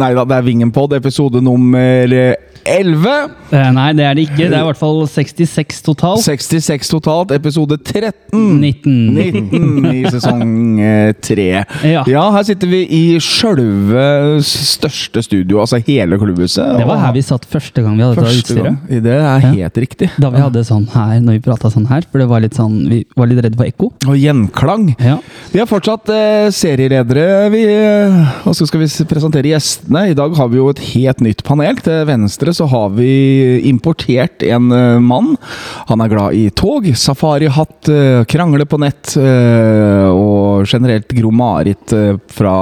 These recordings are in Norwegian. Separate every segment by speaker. Speaker 1: Nei da, det er Vingenpod, episode nummer eh, 11.
Speaker 2: Eh, Nei, det er det ikke. Det er i hvert fall 66 totalt.
Speaker 1: 66 totalt, episode 13.
Speaker 2: 19.
Speaker 1: 19 i sesong eh, 3.
Speaker 2: Ja.
Speaker 1: her sitter vi i sjølve største studio, altså hele klubbhuset.
Speaker 2: Det var her vi satt første gang vi hadde dette
Speaker 1: Første gang.
Speaker 2: utstyret.
Speaker 1: Det er helt riktig.
Speaker 2: Da vi hadde sånn her, når vi prata sånn her, for det var litt sånn, vi var litt redde for ekko.
Speaker 1: Og gjenklang.
Speaker 2: Ja.
Speaker 1: Vi er fortsatt eh, serieledere. Vi, eh, og så skal vi s- presentere gjestene. I dag har vi jo et helt nytt panel. Til venstre så har vi importert en eh, mann. Han er glad i tog, safarihatt, eh, krangle på nett eh, og generelt Gro-Marit eh, fra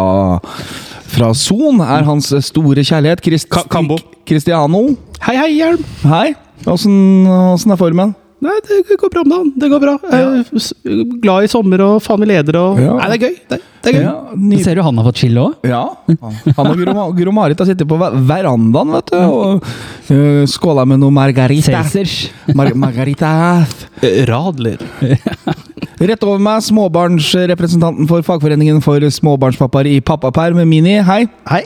Speaker 1: fra Son er hans store kjærlighet. Christ
Speaker 3: Ka- Kambo.
Speaker 1: Cristiano.
Speaker 3: Hei, hei, Hjelm!
Speaker 1: Hei. Åssen åssen er formen?
Speaker 3: Nei, det går bra om dagen. Det går bra.
Speaker 1: Eh,
Speaker 3: Jeg er Eh, s- Glad i sommer og faen vi leder og
Speaker 1: Ja.
Speaker 3: Nei, det er gøy. Det, det er gøy.
Speaker 1: ny-
Speaker 2: Ser du han har fått chille òg?
Speaker 1: Ja. Han og Gro, Gro Marit har sittet på ver- verandaen vet du, og uh, skåla med noe margarita.
Speaker 2: Cæsars.
Speaker 1: Mar margarita.
Speaker 3: Eh, Radler.
Speaker 1: Rett over meg, småbarnsrepresentanten for Fagforeningen for småbarnspappaer i pappaperm, Mini. Hei.
Speaker 4: Hei.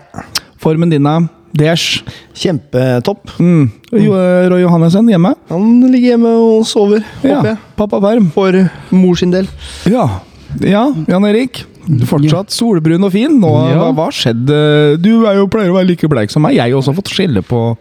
Speaker 1: Formen din er Desh.
Speaker 4: Kjempetopp.
Speaker 1: Mm. Jo, eh, Roy Johannessen hjemme.
Speaker 4: Han ligger hjemme og sover, håper
Speaker 1: Ja.
Speaker 4: jeg.
Speaker 1: Pappaperm.
Speaker 4: For mor sin del.
Speaker 1: Ja. ja. Jan Erik. Du er Fortsatt solbrun og fin. Nå,
Speaker 2: Ja.
Speaker 1: hva- Hva har skjedd? Eh, Du er jo, pleier å være like bleik som meg. Jeg har også fått skille på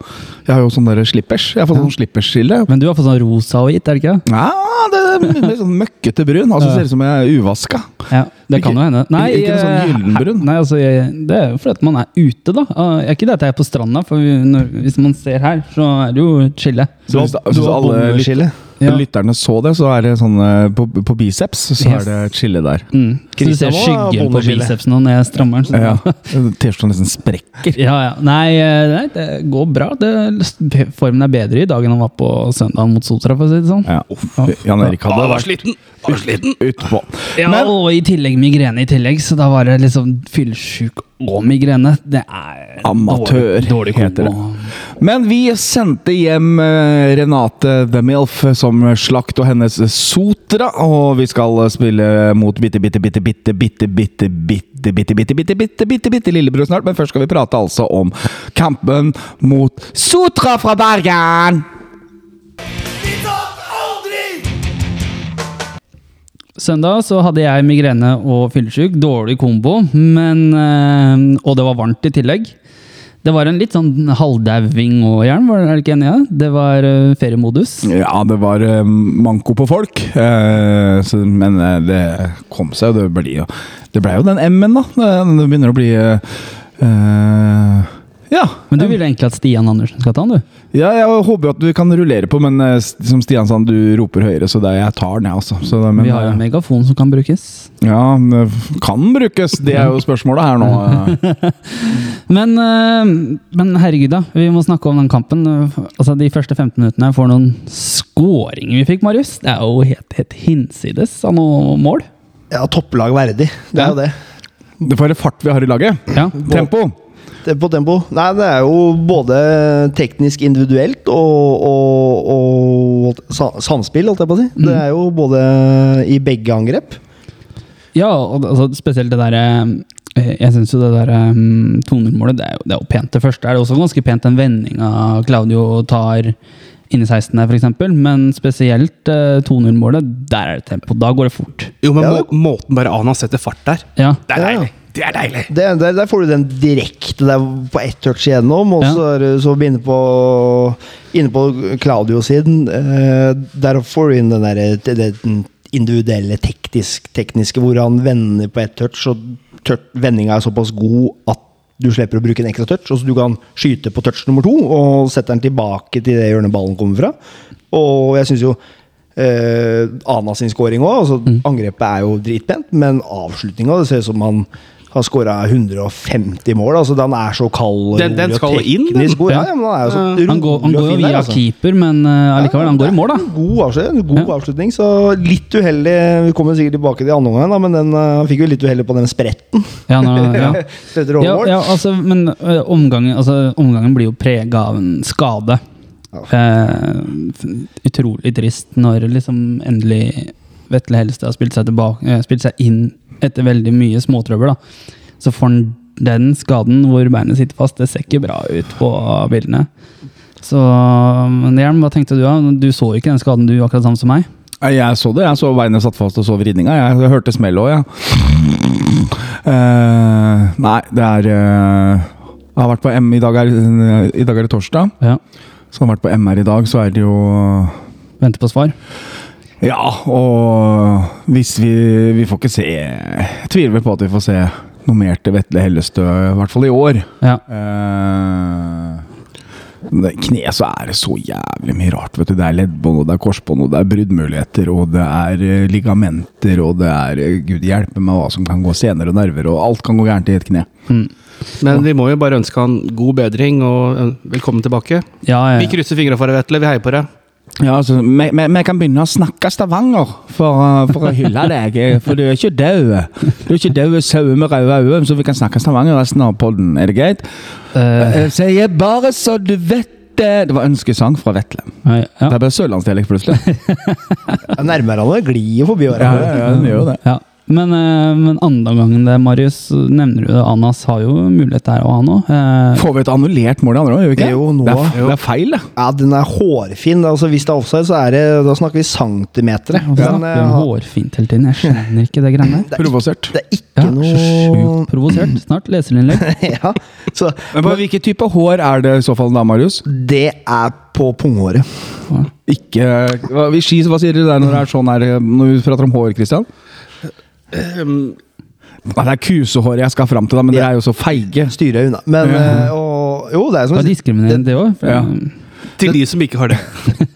Speaker 1: Jeg har jo sånn der slippers. Jeg har fått sånn slippersskille.
Speaker 2: Men du har fått sånn rosa og gitt, er det ikke? det?
Speaker 1: Ja, det er litt sånn møkkete brun. Altså ser ut som jeg er uvaska.
Speaker 2: Ja, det kan
Speaker 1: Ikke-
Speaker 2: jo hende. Nei,
Speaker 1: ikke noe sånn
Speaker 2: eh,
Speaker 1: gyllenbrun?
Speaker 2: Nei, altså, jeg, det er jo fordi at man er ute, da. Eh, Det er ikke det at jeg er på stranda, for vi- når, hvis man ser her, så er det jo chille.
Speaker 1: Så hvis, hvis alle lyt,
Speaker 4: bombeskille.
Speaker 2: Ja.
Speaker 1: lytterne så det, så er det sånn eh, på, på biceps, så
Speaker 2: Yes.
Speaker 1: er det chille der.
Speaker 2: Mm. Så du
Speaker 4: Christian
Speaker 2: ser
Speaker 4: var
Speaker 2: skyggen på
Speaker 4: bondeskille.
Speaker 2: bicepsen nå når jeg strammer den. så-
Speaker 1: Ja. T-skjorta nesten sprekker.
Speaker 2: Ja, ja. Nei, eh, nei, det går bra. Det, formen er bedre i dag enn han var på søndagen mot Sotra, for å si det sånn.
Speaker 1: Ja. Jan Erik hadde vært ut- utpå.
Speaker 2: Ja,
Speaker 1: Men
Speaker 2: og i tillegg migrene i tillegg, så da var det liksom fyllesjuk og migrene. Det er
Speaker 1: Amatør,
Speaker 2: dårlig, dårlig
Speaker 1: heter det.
Speaker 2: kombo.
Speaker 1: Men vi sendte hjem eh, Renate The Milf som slakt og hennes Sotra, og vi skal spille mot bitte, bitte, bitte, bitte, bitte, bitte, bitte, bitte, bitte, bitte, bitte, bitte, bitte lillebror snart, men først skal vi prate altså om kampen mot Sotra fra Bergen!
Speaker 2: Søndag så hadde jeg migrene og fyllesyk. Dårlig kombo, men eh, Og det var varmt i tillegg. Det var en litt sånn halvdauing og jern, var det- er du ikke enig i det? Det var eh, feriemodus.
Speaker 1: Ja, det var eh, manko på folk, eh, så, men eh, det kom seg. Det ble jo, det ble jo den M-en, da. Det det begynner å bli eh, eh, Ja.
Speaker 2: Men du ville egentlig at Stian Andersen skal ta den, du?
Speaker 1: Ja, jeg håper jo at du kan rullere på, men eh, s- som Stian sa, du roper høyere, så det er jeg tar den, jeg, altså. Så, det- men,
Speaker 2: Vi har jo en
Speaker 1: eh,
Speaker 2: megafon som kan brukes.
Speaker 1: ja, men det kan brukes. Det er jo spørsmålet her nå. eh.
Speaker 2: Men, eh, men herregud, da. Vi må snakke om den kampen. Altså, De første 15 minuttene for noen skåringer vi fikk, Marius. Det er jo helt, helt hinsides av noe mål.
Speaker 4: Ja, topplag verdig. Det er jo det.
Speaker 1: Det får være fart vi har i laget.
Speaker 2: Ja.
Speaker 1: Tempo.
Speaker 4: det er på tempo. Nei, det er jo både teknisk individuelt og, og, og sa, samspill, holdt jeg på å si.
Speaker 3: Mm.
Speaker 4: Det er jo både i begge angrep.
Speaker 2: Ja, og det- altså, spesielt det derre Jeg syns jo det derre 200-målet, det, er jo- det er jo pent. Det første er det også ganske pent, den vendinga Claudio tar inn i 16 her, f.eks. Men spesielt eh, 200-målet, der er det tempo. Da går det fort.
Speaker 3: Jo, men
Speaker 4: Ja,
Speaker 3: må, måten bare Ana setter fart der
Speaker 2: Ja.
Speaker 3: Det er
Speaker 4: Ja, ja.
Speaker 3: deilig. Det er deilig.
Speaker 4: Det, der, der får du den direkte der på ett touch igjennom, og
Speaker 2: Ja.
Speaker 4: så er du så inne på, inne på Claudio-siden. eh, der får du inn den der, det- det- den individuelle teknisk, tekniske, hvor han vender på ett touch, og tør- vendinga er såpass god at du slipper å bruke en ekstra touch, og så du kan skyte på touch nummer to og sette den tilbake til det hjørnet ballen kommer fra. Og jeg syns jo eh, Ana sin scoring òg. Altså, Angrepet er jo dritpent, men avslutninga Det ser ut som han har skåra 150 mål. altså Den er så kald og
Speaker 3: Den- den
Speaker 4: rolig og
Speaker 3: skal inn, den.
Speaker 4: teknisk god. Ja,
Speaker 2: Ja.
Speaker 4: ja, men han er jo så
Speaker 3: Ja.
Speaker 4: rolig
Speaker 2: Han går, han
Speaker 4: og
Speaker 2: går jo
Speaker 4: fin der,
Speaker 2: via
Speaker 4: altså.
Speaker 2: keeper, men eh, allikevel, han går i mål, da.
Speaker 4: En God avslutning, en god
Speaker 2: Ja.
Speaker 4: avslutning så litt uheldig. Vi kommer sikkert tilbake til andre omgang, da, men den, eh, han fikk jo litt uheldig på den spretten.
Speaker 2: Ja, nå, ja.
Speaker 4: Spretter
Speaker 2: Ja,
Speaker 4: overmål.
Speaker 2: ja, altså, men ø, omgangen, altså, omgangen blir jo prega av en skade.
Speaker 4: Ja.
Speaker 2: Eh, f- utrolig trist når liksom endelig Vetle Helstad har spilt seg, tilbake, eh, spilt seg inn etter veldig mye småtrøbbel. Da. Så får han den skaden hvor beinet sitter fast. Det ser ikke bra ut på bildene. Så men Jern, hva tenkte du? da? Du så jo ikke den skaden, du, akkurat samme som meg.
Speaker 1: Nei, Jeg så det. Jeg så beinet satt fast og så vridninga. Jeg, jeg hørte smellet òg, jeg. Eh, nei, det er eh, Jeg har vært på M i dag, er, I dag er det torsdag.
Speaker 2: Ja.
Speaker 1: Så har jeg vært på MR i dag, så er det jo
Speaker 2: Venter på svar.
Speaker 1: Ja, og hvis vi Vi får ikke se Jeg tviler vel på at vi får se noe mer til Vetle Hellestø, i hvert fall i år.
Speaker 2: Ja.
Speaker 1: Eh, men det- kne så er det så jævlig mye rart. vet du. Det er leddbånd, og det er korsbånd, og det er bruddmuligheter, og det er eh, ligamenter, og det er eh, Gud hjelpe meg hva som kan gå senere, og nerver, og alt kan gå gærent i et kne.
Speaker 2: Mm.
Speaker 3: Men vi må jo bare ønske han god bedring og eh, velkommen tilbake.
Speaker 2: Ja, ja,
Speaker 3: Vi
Speaker 2: ja.
Speaker 3: krysser fingra for deg, Vetle. Vi heier på deg.
Speaker 1: Ja, altså, vi, vi, vi kan begynne å snakke Stavanger for, uh, for å hylle deg. eh, For du er ikke død. Du er ikke død sau med røde øyne, så vi kan snakke Stavanger resten av podden. Er det greit?
Speaker 2: Eh,
Speaker 1: Eh, Sier jeg bare så du vet eh, det. Det var ønskesang fra Vetle.
Speaker 2: ja, ja.
Speaker 1: Det ble sørlandsdialekt plutselig.
Speaker 4: Ja, Nærmere han det glir forbi året.
Speaker 1: Ja, ja, ja, den gjør jo det.
Speaker 2: Ja. Men, eh, men andre gangen det, Marius, nevner du det. Anas har jo mulighet der, og han òg. Eh,
Speaker 1: Får vi et annullert mål i andre òg, gjør vi ikke?
Speaker 4: Jo, nå.
Speaker 1: det, er, det er feil, det.
Speaker 4: Ja, den er hårfin. altså Hvis det er offside, så er det, da snakker vi centimeter.
Speaker 2: han
Speaker 4: Den,
Speaker 2: snakker om
Speaker 4: eh,
Speaker 2: hårfint hele tiden. Jeg skjønner ikke det greiene der.
Speaker 1: Provosert.
Speaker 4: det er ikke
Speaker 2: Ja, så
Speaker 4: noe
Speaker 2: sjukt provosert. Snart leserinnlegg.
Speaker 4: ja, så
Speaker 1: Men på Hvilken type hår er det i så fall da, Marius?
Speaker 4: Det er på punghåret.
Speaker 1: Ikke hva, vi skis, Hva sier dere der når det er sånn her, eh, når vi prater om hår, Christian?
Speaker 4: Ehm.
Speaker 1: Nei, det er kusehåret jeg skal fram til, da, men dere er jo så feige.
Speaker 4: Styrer jeg unna. Men eh, og, jo, det er som
Speaker 2: Det er
Speaker 4: jeg sier.
Speaker 2: diskriminerende, det òg.
Speaker 1: Ja.
Speaker 3: Til de som ikke har det.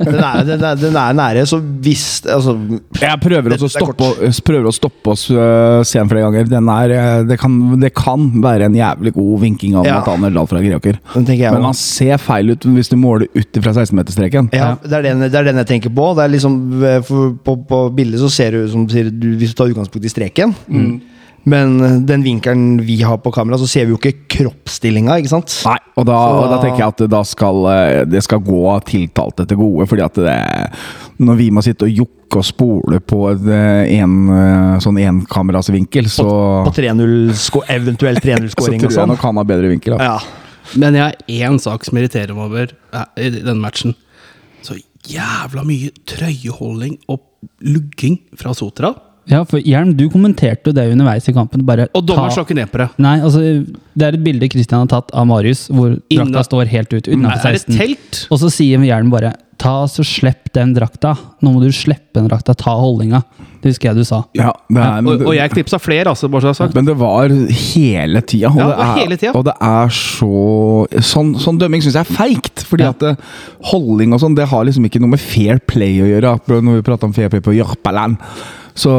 Speaker 4: Den er, den, er, den er nære, så hvis Altså
Speaker 1: Jeg prøver, også å
Speaker 4: Det- det er
Speaker 1: stoppe, å- prøver å stoppe oss uh, sen flere ganger. Den er, eh, det, kan, det kan være en jævlig god vinking av
Speaker 4: Ja.
Speaker 1: Nathaniel Dahl fra Greåker.
Speaker 4: Den tenker jeg
Speaker 1: Men
Speaker 4: også.
Speaker 1: han ser feil ut hvis du måler ut fra 16-meterstreken.
Speaker 4: Ja, det er, den, det er den jeg tenker på. Det er liksom, eh, for på, på bildet så ser du ut som du sier, du, Hvis du tar utgangspunkt i streken
Speaker 1: Mm.
Speaker 4: Men eh, den vinkelen vi har på kamera, så ser vi jo ikke kroppsstillinga. ikke sant?
Speaker 1: Nei, og da,
Speaker 4: Så
Speaker 1: og da
Speaker 4: da-
Speaker 1: tenker jeg at da skal, eh, det skal gå tiltalte til gode. fordi at det, når vi må sitte og jokke og spole på et, eh, en eh, sånn enkamerasvinkel, så,
Speaker 4: På 3-0, sko-
Speaker 1: så
Speaker 4: eventuelt
Speaker 1: tror
Speaker 4: 3-0-skåring og
Speaker 1: jeg
Speaker 4: sånn.
Speaker 1: nok han har bedre vinkel. Da.
Speaker 4: Ja.
Speaker 3: Men jeg har én sak som irriterer meg over eh, i denne matchen. Så jævla mye trøyeholding og lugging fra Sotra.
Speaker 2: ja, for Hjelm, du kommenterte jo det underveis i kampen. Bare
Speaker 3: Og dommeren
Speaker 2: ta-
Speaker 3: slår ikke ned på det.
Speaker 2: Nei, altså, det er et bilde Christian har tatt av Marius, hvor
Speaker 3: Inna- Mm,
Speaker 2: drakta står helt ut utenfor
Speaker 3: Er det
Speaker 2: 16.
Speaker 3: telt?
Speaker 2: Og så sier Jern bare Ta så slipp den drakta. Nå må du slippe den drakta. Ta holdninga. Det husker jeg du sa.
Speaker 1: Ja, det er,
Speaker 3: Og, og
Speaker 1: men,
Speaker 3: jeg knipsa flere, altså, bare så jeg har sagt.
Speaker 1: men det var hele tida. Og,
Speaker 3: Ja, det
Speaker 1: det
Speaker 3: var
Speaker 1: er-
Speaker 3: hele tida.
Speaker 1: og det er så Sånn, sånn dømming syns jeg er feigt. fordi
Speaker 2: Ja.
Speaker 1: at eh, holdning og sånn, det har liksom ikke noe med fair play å gjøre. akkurat Når vi prater om fair play på Jørpeland. Så,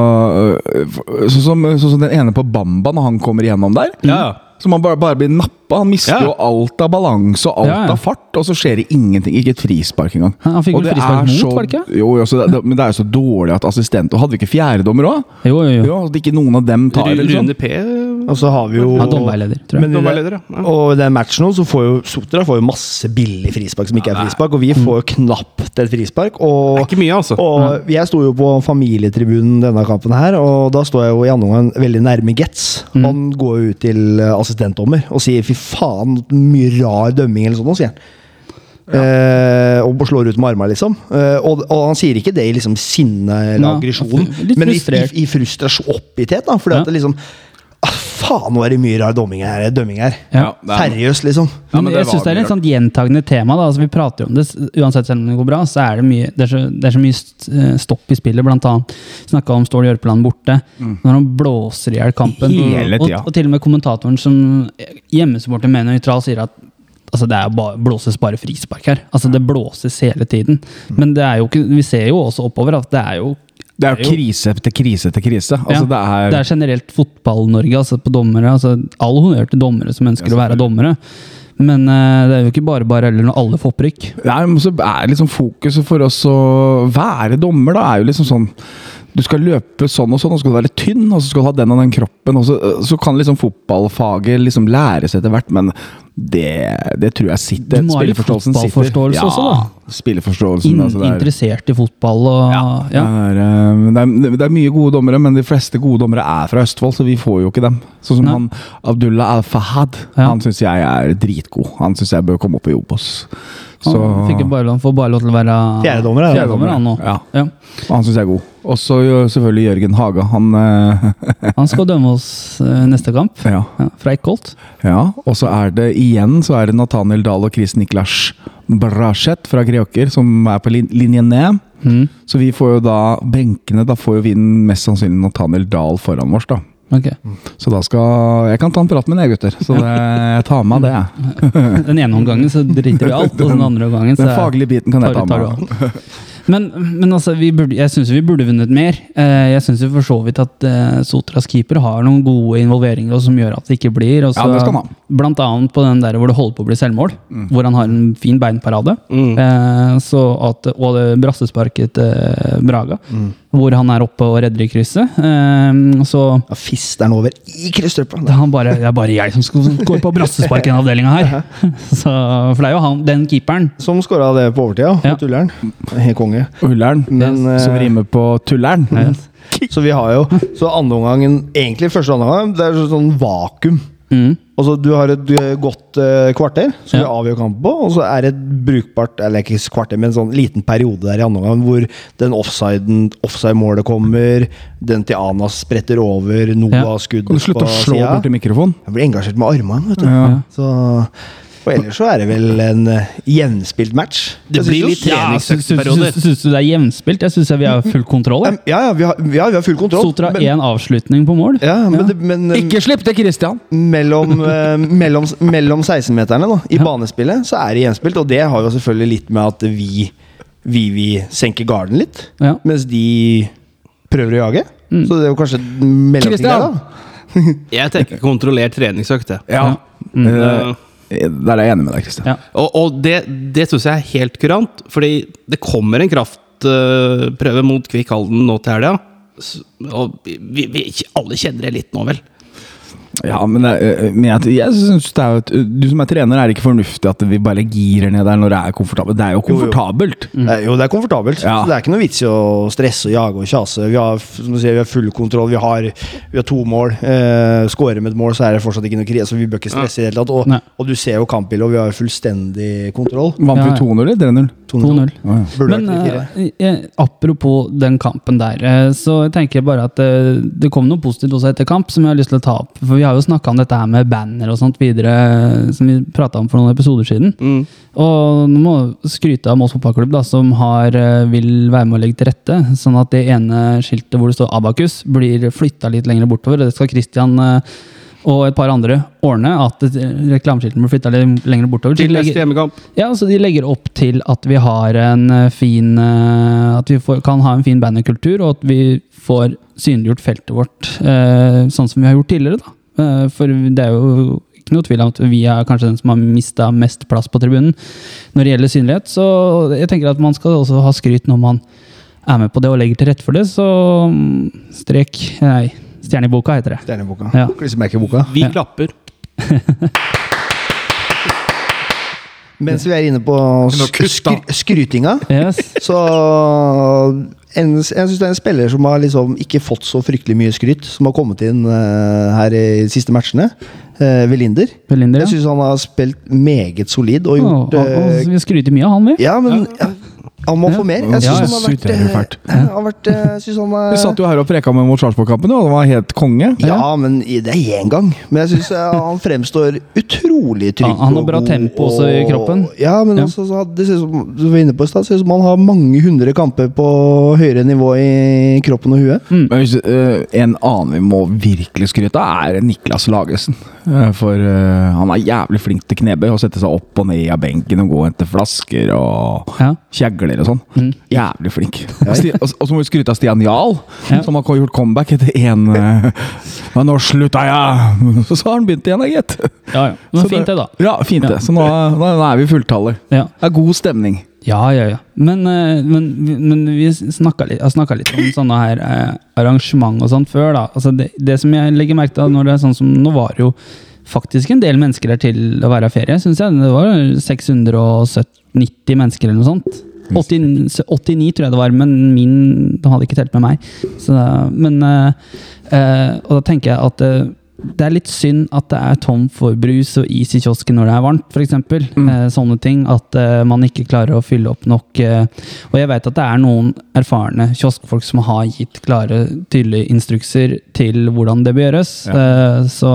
Speaker 1: øh, sånn som, sånn som den ene på Bamba, når han kommer igjennom der.
Speaker 3: Ja.
Speaker 1: Så man bare, bare blir nappa. Han mister
Speaker 3: Ja.
Speaker 1: jo alt av balanse og alt
Speaker 2: Ja, ja.
Speaker 1: av fart, og så skjer det ingenting. Ikke et frispark engang.
Speaker 2: Ja, han fikk
Speaker 1: Og
Speaker 2: vel
Speaker 1: det
Speaker 2: frispark
Speaker 1: er
Speaker 2: mot,
Speaker 1: så-
Speaker 2: var det ikke?
Speaker 1: Jo, jo, så det, det, men det er jo så dårlig at assistent Og hadde vi ikke fjerdedommer òg?
Speaker 2: Jo, jo, jo.
Speaker 1: Ja, at ikke noen av dem tar det.
Speaker 3: Ru-
Speaker 1: Liksom.
Speaker 3: Rune P.
Speaker 4: Og så har vi jo
Speaker 2: Han er dommerleder, tror jeg.
Speaker 4: Men i det-
Speaker 3: Dommerleder, ja.
Speaker 4: Og i den matchen nå, så får jo Sotra får jo masse billig frispark som ikke er frispark, og vi
Speaker 2: Mm.
Speaker 4: får jo knapt et frispark. Og
Speaker 3: Det er ikke mye, altså.
Speaker 4: Og jeg sto jo på familietribunen denne kampen her, og da står jeg jo i andre omgang veldig nærme Getz.
Speaker 2: Mm.
Speaker 4: Han går jo ut til eh, assistentdommer og sier 'fy faen, mye rar dømming' eller sånn, nå», sier han. Eh, og slår ut med armene, liksom. Eh, og, og han sier ikke det i liksom sinne eller
Speaker 2: Ja,
Speaker 4: aggresjon,
Speaker 2: altså, litt
Speaker 4: men i, i,
Speaker 2: frustrert.
Speaker 4: i frustrasjon oppgitthet. da, Fordi
Speaker 2: Ja.
Speaker 4: at det liksom «Ah, Faen, nå er det mye rar dømming her. eh, Dømming her.
Speaker 2: Ja.
Speaker 1: det er-
Speaker 4: Seriøst, liksom.
Speaker 1: Ja, men
Speaker 2: men
Speaker 1: det
Speaker 2: jeg
Speaker 1: var
Speaker 2: synes det er
Speaker 1: mye
Speaker 2: litt sånn gjentagende tema. da, altså Vi prater om det s- uansett selv om det går bra. så er Det mye, det er så, det er så mye st- eh, stopp i spillet. Blant annet snakka om Stål Jørpeland borte. Når han blåser i hjel kampen.
Speaker 1: Mm. Hele
Speaker 2: og,
Speaker 1: tida.
Speaker 2: og til og med kommentatoren som hjemmesupporter mener eh, nøytral, sier at Altså det er jo bare, blåses bare frispark her. Altså Det blåses hele tiden.
Speaker 1: Mm.
Speaker 2: Men det er jo ikke, vi ser jo også oppover at det er jo
Speaker 1: Det er jo krise etter krise etter krise.
Speaker 2: ja,
Speaker 1: Altså, det
Speaker 2: det
Speaker 1: er
Speaker 2: er generelt Fotball-Norge altså på dommere. Altså All honnør til dommere som ønsker å være dommere. Men eh, det er jo ikke bare bare heller når alle får opprykk.
Speaker 1: Nei, men så er liksom fokuset for oss å være dommer, da, er jo liksom sånn Du skal løpe sånn og sånn, og så skal du være litt tynn, og så skal du ha den og den kroppen, og så, så kan liksom fotballfaget liksom læres etter hvert, men det, det tror jeg sitter.
Speaker 2: Du må ha litt
Speaker 1: Spillerforståelsen
Speaker 2: fotballforståelse
Speaker 1: sitter.
Speaker 2: også, da.
Speaker 1: Ja, spillerforståelsen.
Speaker 2: In
Speaker 1: altså, det er-
Speaker 2: Interessert i fotball og Ah,
Speaker 1: Det,
Speaker 2: ja.
Speaker 1: er, eh, det, er, det er mye gode dommere, men de fleste gode dommere er fra Østfold, så vi får jo ikke dem. Sånn som
Speaker 2: Nei.
Speaker 1: han Abdullah Al-Fahad.
Speaker 2: Ja.
Speaker 1: Han syns jeg er dritgod. Han syns jeg bør komme opp i Obos. Så
Speaker 2: Han fikk jo bare lov, får bare lov til å være
Speaker 4: Fjerdedommer, er det.
Speaker 2: fjerdedommer, han nå.
Speaker 1: Ja.
Speaker 2: Ja.
Speaker 1: han syns jeg er god. Og så jo selvfølgelig Jørgen Haga. Han eh,
Speaker 2: Han skal dømme oss eh, neste kamp.
Speaker 1: Ja.
Speaker 2: Ja, fra Eikholt.
Speaker 1: ja. Og så er det igjen så er det Nathaniel Dahl og Chris Niklas Braseth fra Greåker som er på lin linje ned.
Speaker 2: Mm.
Speaker 1: Så vi får jo da benkene. Da får jo vi mest sannsynlig Nathaniel Dahl foran vårs, da.
Speaker 2: Ok.
Speaker 1: Så da skal Jeg kan ta en prat med deg, gutter. Så det, jeg tar med meg det. jeg.
Speaker 2: Den ene omgangen så driter vi i alt, og den andre omgangen så
Speaker 1: Den faglige biten kan jeg ta
Speaker 2: tar, tar du
Speaker 1: med meg.
Speaker 2: alt. Men, men altså, vi burde, jeg syns vi burde vunnet mer. Eh, Jeg syns for så vidt at eh, Sotras keeper har noen gode involveringer og som gjør at det ikke blir. og
Speaker 1: Ja,
Speaker 2: så-
Speaker 1: det skal han ha. Mm.
Speaker 2: Blant annet på den der hvor det holder på å bli selvmål, hvor han har en fin beinparade.
Speaker 3: Mm.
Speaker 2: Eh, så at, og det brassesparket til eh, Braga, hvor han er oppe og redder i krysset. Eh, så
Speaker 4: Ja, Fister den over i krysstøppa.
Speaker 2: det er, han bare, det er bare jeg som skal gå på brassespark i den avdelinga her. Så, for det er jo han, den keeperen.
Speaker 4: Som skåra det på overtida.
Speaker 2: Ja.
Speaker 4: Ja. Tulleren. Helt konge.
Speaker 1: Ullern,
Speaker 4: Men,
Speaker 1: som
Speaker 4: eh,
Speaker 1: rimer på Tullern.
Speaker 4: Så vi har jo Så andre omgangen, egentlig første og andre omgang, det er sånn vakuum.
Speaker 2: Mm.
Speaker 4: Altså, du har et eh, godt eh, kvarter som
Speaker 2: Ja.
Speaker 4: du avgjør kampen på, og så er det et brukbart Eller ikke kvarter, men en sånn liten periode der i andre omgang hvor den offsiden- offside-målet kommer, den til Anas spretter over, Noah
Speaker 2: Ja.
Speaker 4: skudd
Speaker 1: Kan du slutte å slå
Speaker 4: siden.
Speaker 1: borti mikrofonen?
Speaker 4: Jeg blir engasjert med armene, vet du.
Speaker 1: Ja.
Speaker 4: Så, og ellers så er det vel en eh, jevnspilt match.
Speaker 3: Det
Speaker 4: Jeg synes
Speaker 3: blir
Speaker 4: jo-
Speaker 3: litt
Speaker 2: Ja,
Speaker 3: treningsøkte
Speaker 2: syns, syns,
Speaker 3: perioder. Mm,
Speaker 2: syns du det er jevnspilt? Jeg syns vi har full kontroll. jeg.
Speaker 4: Ja, ja, vi har, ja, vi har full kontroll.
Speaker 2: Sotra
Speaker 4: men-
Speaker 2: én avslutning på mål.
Speaker 4: Ja, men, Det, men eh,
Speaker 1: Ikke slipp til Christian!
Speaker 4: mellom, eh, mellom, mellom 16-meterne da, i
Speaker 2: Ja.
Speaker 4: banespillet så er det gjenspilt, og det har jo selvfølgelig litt med at vi, vi, vi senker garden litt,
Speaker 2: Ja. Mm.
Speaker 4: mens de prøver å jage. Så det er jo kanskje en mellomting der,
Speaker 1: Christian!
Speaker 4: da.
Speaker 3: Jeg tenker kontrollert treningsøkt. jeg.
Speaker 1: Ja.
Speaker 3: Eh,
Speaker 1: Eh, Der er jeg enig med deg, Christian.
Speaker 2: Ja.
Speaker 3: Og, og det, det syns jeg er helt kurant, fordi det kommer en kraftprøve mot Kvikk Halden nå til helga. S- Og vi, vi, alle kjenner det litt nå, vel?
Speaker 1: Ja, men, det, eh, men jeg, jeg synes det er jo et, Du som er trener, er det ikke fornuftig at vi bare girer ned der når det er komfortabelt? Det er jo komfortabelt!
Speaker 2: Mm.
Speaker 4: Eh, Jo, det er komfortabelt.
Speaker 1: Ja.
Speaker 4: Så Det er ikke noe vits i å stresse og jage og kjase. Vi har, som du sier, vi har full kontroll, vi har, vi har to mål. Eh, Skårer med et mål, så er det fortsatt ikke noe krise. Så vi bør ikke stresse i det hele tatt.
Speaker 2: Nei.
Speaker 4: Og, og du ser jo kampbildet, og vi har fullstendig kontroll.
Speaker 1: Vant
Speaker 2: Ja,
Speaker 1: vi
Speaker 2: ja.
Speaker 1: 2-0 eller 3-0?
Speaker 2: 2-0.
Speaker 1: Å, ja.
Speaker 4: Burde
Speaker 2: Men
Speaker 4: vært litt fire.
Speaker 2: eh, jeg- apropos den kampen der, eh, så tenker jeg bare at eh, det kom noe positivt også etter kamp som jeg har lyst til å ta opp. For vi har jo snakka om dette her med banner og sånt videre, eh, som vi prata om for noen episoder siden. Og nå må jeg skryte av Moss fotballklubb, da, som har, eh, vil være med å legge til rette. Sånn at det ene skiltet hvor det står Abakus, blir flytta litt lenger bortover. Og det skal Christian eh, og et par andre ordne, at eh, reklameskiltene blir flytta litt lenger bortover.
Speaker 3: Til
Speaker 2: De legger-
Speaker 3: neste hjemmekamp.
Speaker 2: ja, altså De legger opp til at vi har en eh, fin eh, At vi får, kan ha en fin bannerkultur, og at vi får synliggjort feltet vårt eh, sånn som vi har gjort tidligere. da. Eh, For det er jo ikke noe tvil om at vi er kanskje den som har mista mest plass på tribunen når det gjelder synlighet. Så jeg tenker at man skal også ha skryt når man er med på det og legger til rette for det. Så mm, strek Nei, stjerne i boka heter det.
Speaker 4: Stjerneboka.
Speaker 2: Ja.
Speaker 4: Klissemerkeboka.
Speaker 3: Vi klapper.
Speaker 4: Mens vi er inne på
Speaker 3: Nå
Speaker 4: sk
Speaker 3: kutt, da.
Speaker 4: skry- skrytinga,
Speaker 2: Yes.
Speaker 4: så en, Jeg syns det er en spiller som har liksom ikke fått så fryktelig mye skryt, som har kommet inn eh, her i de siste matchene. eh, Velinder.
Speaker 2: Velinder,
Speaker 4: Jeg
Speaker 2: ja.
Speaker 4: syns han har spilt meget solid og
Speaker 2: Og,
Speaker 4: gjort
Speaker 2: og, og,
Speaker 4: eh,
Speaker 2: vi skryter mye av han, vi.
Speaker 4: Ja, men ja. Han må få mer. Jeg
Speaker 1: Ja,
Speaker 4: syns
Speaker 1: jeg
Speaker 4: han har
Speaker 1: synes
Speaker 4: vært,
Speaker 1: det er
Speaker 4: eh,
Speaker 1: fælt.
Speaker 4: han har vært eh, jeg synes han er-
Speaker 1: Vi satt jo her og preka med mot Sarpsborg-kampen, og det var helt konge.
Speaker 4: Ja, men i- det er én gang. Men jeg syns han fremstår utrolig trygg.
Speaker 2: Han- han har
Speaker 4: og
Speaker 2: bra
Speaker 4: god,
Speaker 2: tempo også i
Speaker 4: og-
Speaker 2: kroppen.
Speaker 4: Ja, men
Speaker 2: Ja.
Speaker 4: også så hadde- det ser ut som du var inne på i stad, ser ut som han har mange hundre kamper på høyere nivå i kroppen og huet.
Speaker 2: Mm.
Speaker 1: Men hvis, eh, en annen vi må virkelig skryte av, er Niklas Lagesen. Eh, for eh, han er jævlig flink til knebøy. Å sette seg opp og ned av benken og gå og hente flasker og
Speaker 2: Ja.
Speaker 1: kjegler og sånn.
Speaker 2: Mm.
Speaker 1: Jævlig flink. Og Sti- Og og så må vi skryte av Stian Jahl,
Speaker 2: Ja.
Speaker 1: som har ko- gjort comeback etter én eh, Men nå slutta jeg! Så har han begynt igjen, da, gitt.
Speaker 2: Ja, ja. Men
Speaker 1: Så
Speaker 2: fint det, da.
Speaker 1: Ja, fint det. Så nå, nå nå er vi fulltallet.
Speaker 2: Ja,
Speaker 1: Det er god stemning.
Speaker 2: ja, ja. ja. Men, eh, men, men vi snakka litt, jeg snakket litt om sånne her eh, arrangement og sånn før, da. Altså det, det som jeg legger merke til, når det er sånn som nå var jo faktisk en del mennesker her til å være ferie, syns jeg. Det var 690 mennesker eller noe sånt. 80, 89 tror jeg det var, men min de hadde ikke telt med meg. Så, da- men, eh, eh, og da tenker jeg at eh, det er litt synd at det er tom for brus og is i kiosken når det er varmt, f.eks.
Speaker 1: Mm.
Speaker 2: Eh, sånne ting. At eh, man ikke klarer å fylle opp nok. Eh, og jeg vet at det er noen erfarne kioskfolk som har gitt klare, tydelige instrukser til hvordan det bør gjøres. Eh, så,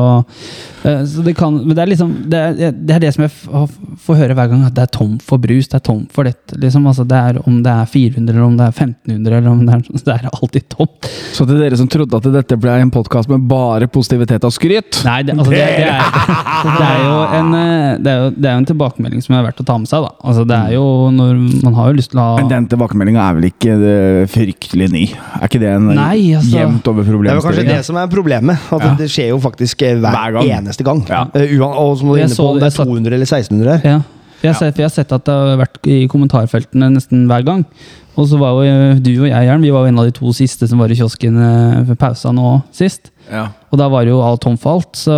Speaker 2: eh, så det kan Men det er liksom Det er det, er det som jeg f har- får høre hver gang, at det er tom for brus, det er tom for dette. Liksom, altså, det er om det er 400, eller om det er 1500, eller om det er Det er alltid tomt.
Speaker 1: Så til dere som trodde at dette ble en podkast med bare positivitet og skryt
Speaker 2: Nei, det, altså, det, det, er, det, er jo en, eh, det, er jo, det er jo en tilbakemelding som er verdt å ta med seg. Da. Altså, det er jo når Man har jo lyst til å
Speaker 1: Men
Speaker 2: ha
Speaker 1: den tilbakemeldinga er vel ikke eh, fryktelig ny? Er ikke det en eh,
Speaker 2: Nei, altså.
Speaker 1: jevnt over
Speaker 4: Det er vel kanskje
Speaker 1: problemstilling?
Speaker 4: det som er problemet. At det skjer jo faktisk eh, hver,
Speaker 1: Hver gang.
Speaker 4: eneste gang.
Speaker 1: Ja.
Speaker 4: Eh, uan- og som du er
Speaker 2: Jeg
Speaker 4: inne på,
Speaker 2: så
Speaker 4: om
Speaker 2: det-
Speaker 4: det er
Speaker 2: jeg satt-
Speaker 4: 200 eller 1600.
Speaker 2: ja. For jeg, har sett, for jeg har sett at det har vært i kommentarfeltene nesten hver gang. Og så var jo eh, du og jeg Jern, vi var jo en av de to siste som var i kiosken eh, ved pausa nå sist.
Speaker 1: Ja.
Speaker 2: Og da var jo alt tom for alt, så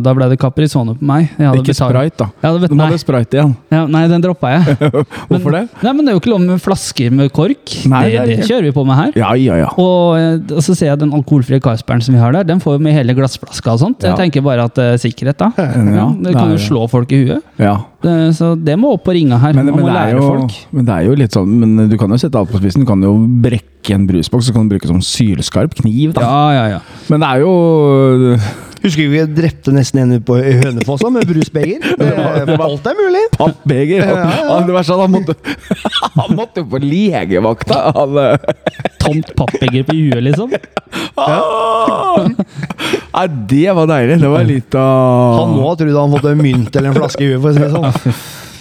Speaker 2: da ble det Caprisone på meg. Jeg hadde
Speaker 1: Ikke
Speaker 2: betalt-
Speaker 1: sprite, da.
Speaker 2: Jeg hadde
Speaker 1: De
Speaker 2: bet nei,
Speaker 1: hadde sprite igjen.
Speaker 2: ja, nei, den droppa jeg.
Speaker 1: Hvorfor det?
Speaker 2: Nei, men Det er jo ikke lov med flasker med kork.
Speaker 1: Nei, det
Speaker 2: det,
Speaker 1: er
Speaker 2: det,
Speaker 1: ikke.
Speaker 2: kjører vi på med her.
Speaker 1: Ja, ja, ja.
Speaker 2: Og, eh, og så ser jeg den alkoholfrie Carlsbergen som vi har der, den får jo med hele glassflaska og sånt.
Speaker 1: Ja.
Speaker 2: Jeg tenker bare at eh, sikkerhet, da.
Speaker 1: Ja,
Speaker 2: det kan
Speaker 1: nei,
Speaker 2: jo slå folk i huet.
Speaker 1: ja.
Speaker 2: Det- så det må opp på ringa her.
Speaker 1: Men,
Speaker 2: Man
Speaker 1: men,
Speaker 2: må
Speaker 1: det er
Speaker 2: lære
Speaker 1: jo,
Speaker 2: folk.
Speaker 1: men det er jo litt sånn Men du kan jo sette alt på spissen. Du kan jo brekke en brusboks, så kan du bruke som sylskarp kniv. da
Speaker 2: Ja, ja, ja.
Speaker 1: Men det er jo
Speaker 4: Husker du ikke vi drepte nesten en ute på Hønefoss da, med brusbeger? Det- Alt er mulig.
Speaker 1: pappbeger. Han- Det verste er at han måtte Han måtte jo på legevakta! Han, eh,
Speaker 2: Tomt pappbeger på huet, liksom.
Speaker 1: Ah! Nei, det var deilig. Det var litt av
Speaker 4: Han må ha trodd han fått en mynt eller en flaske i huet. for å si det sånn.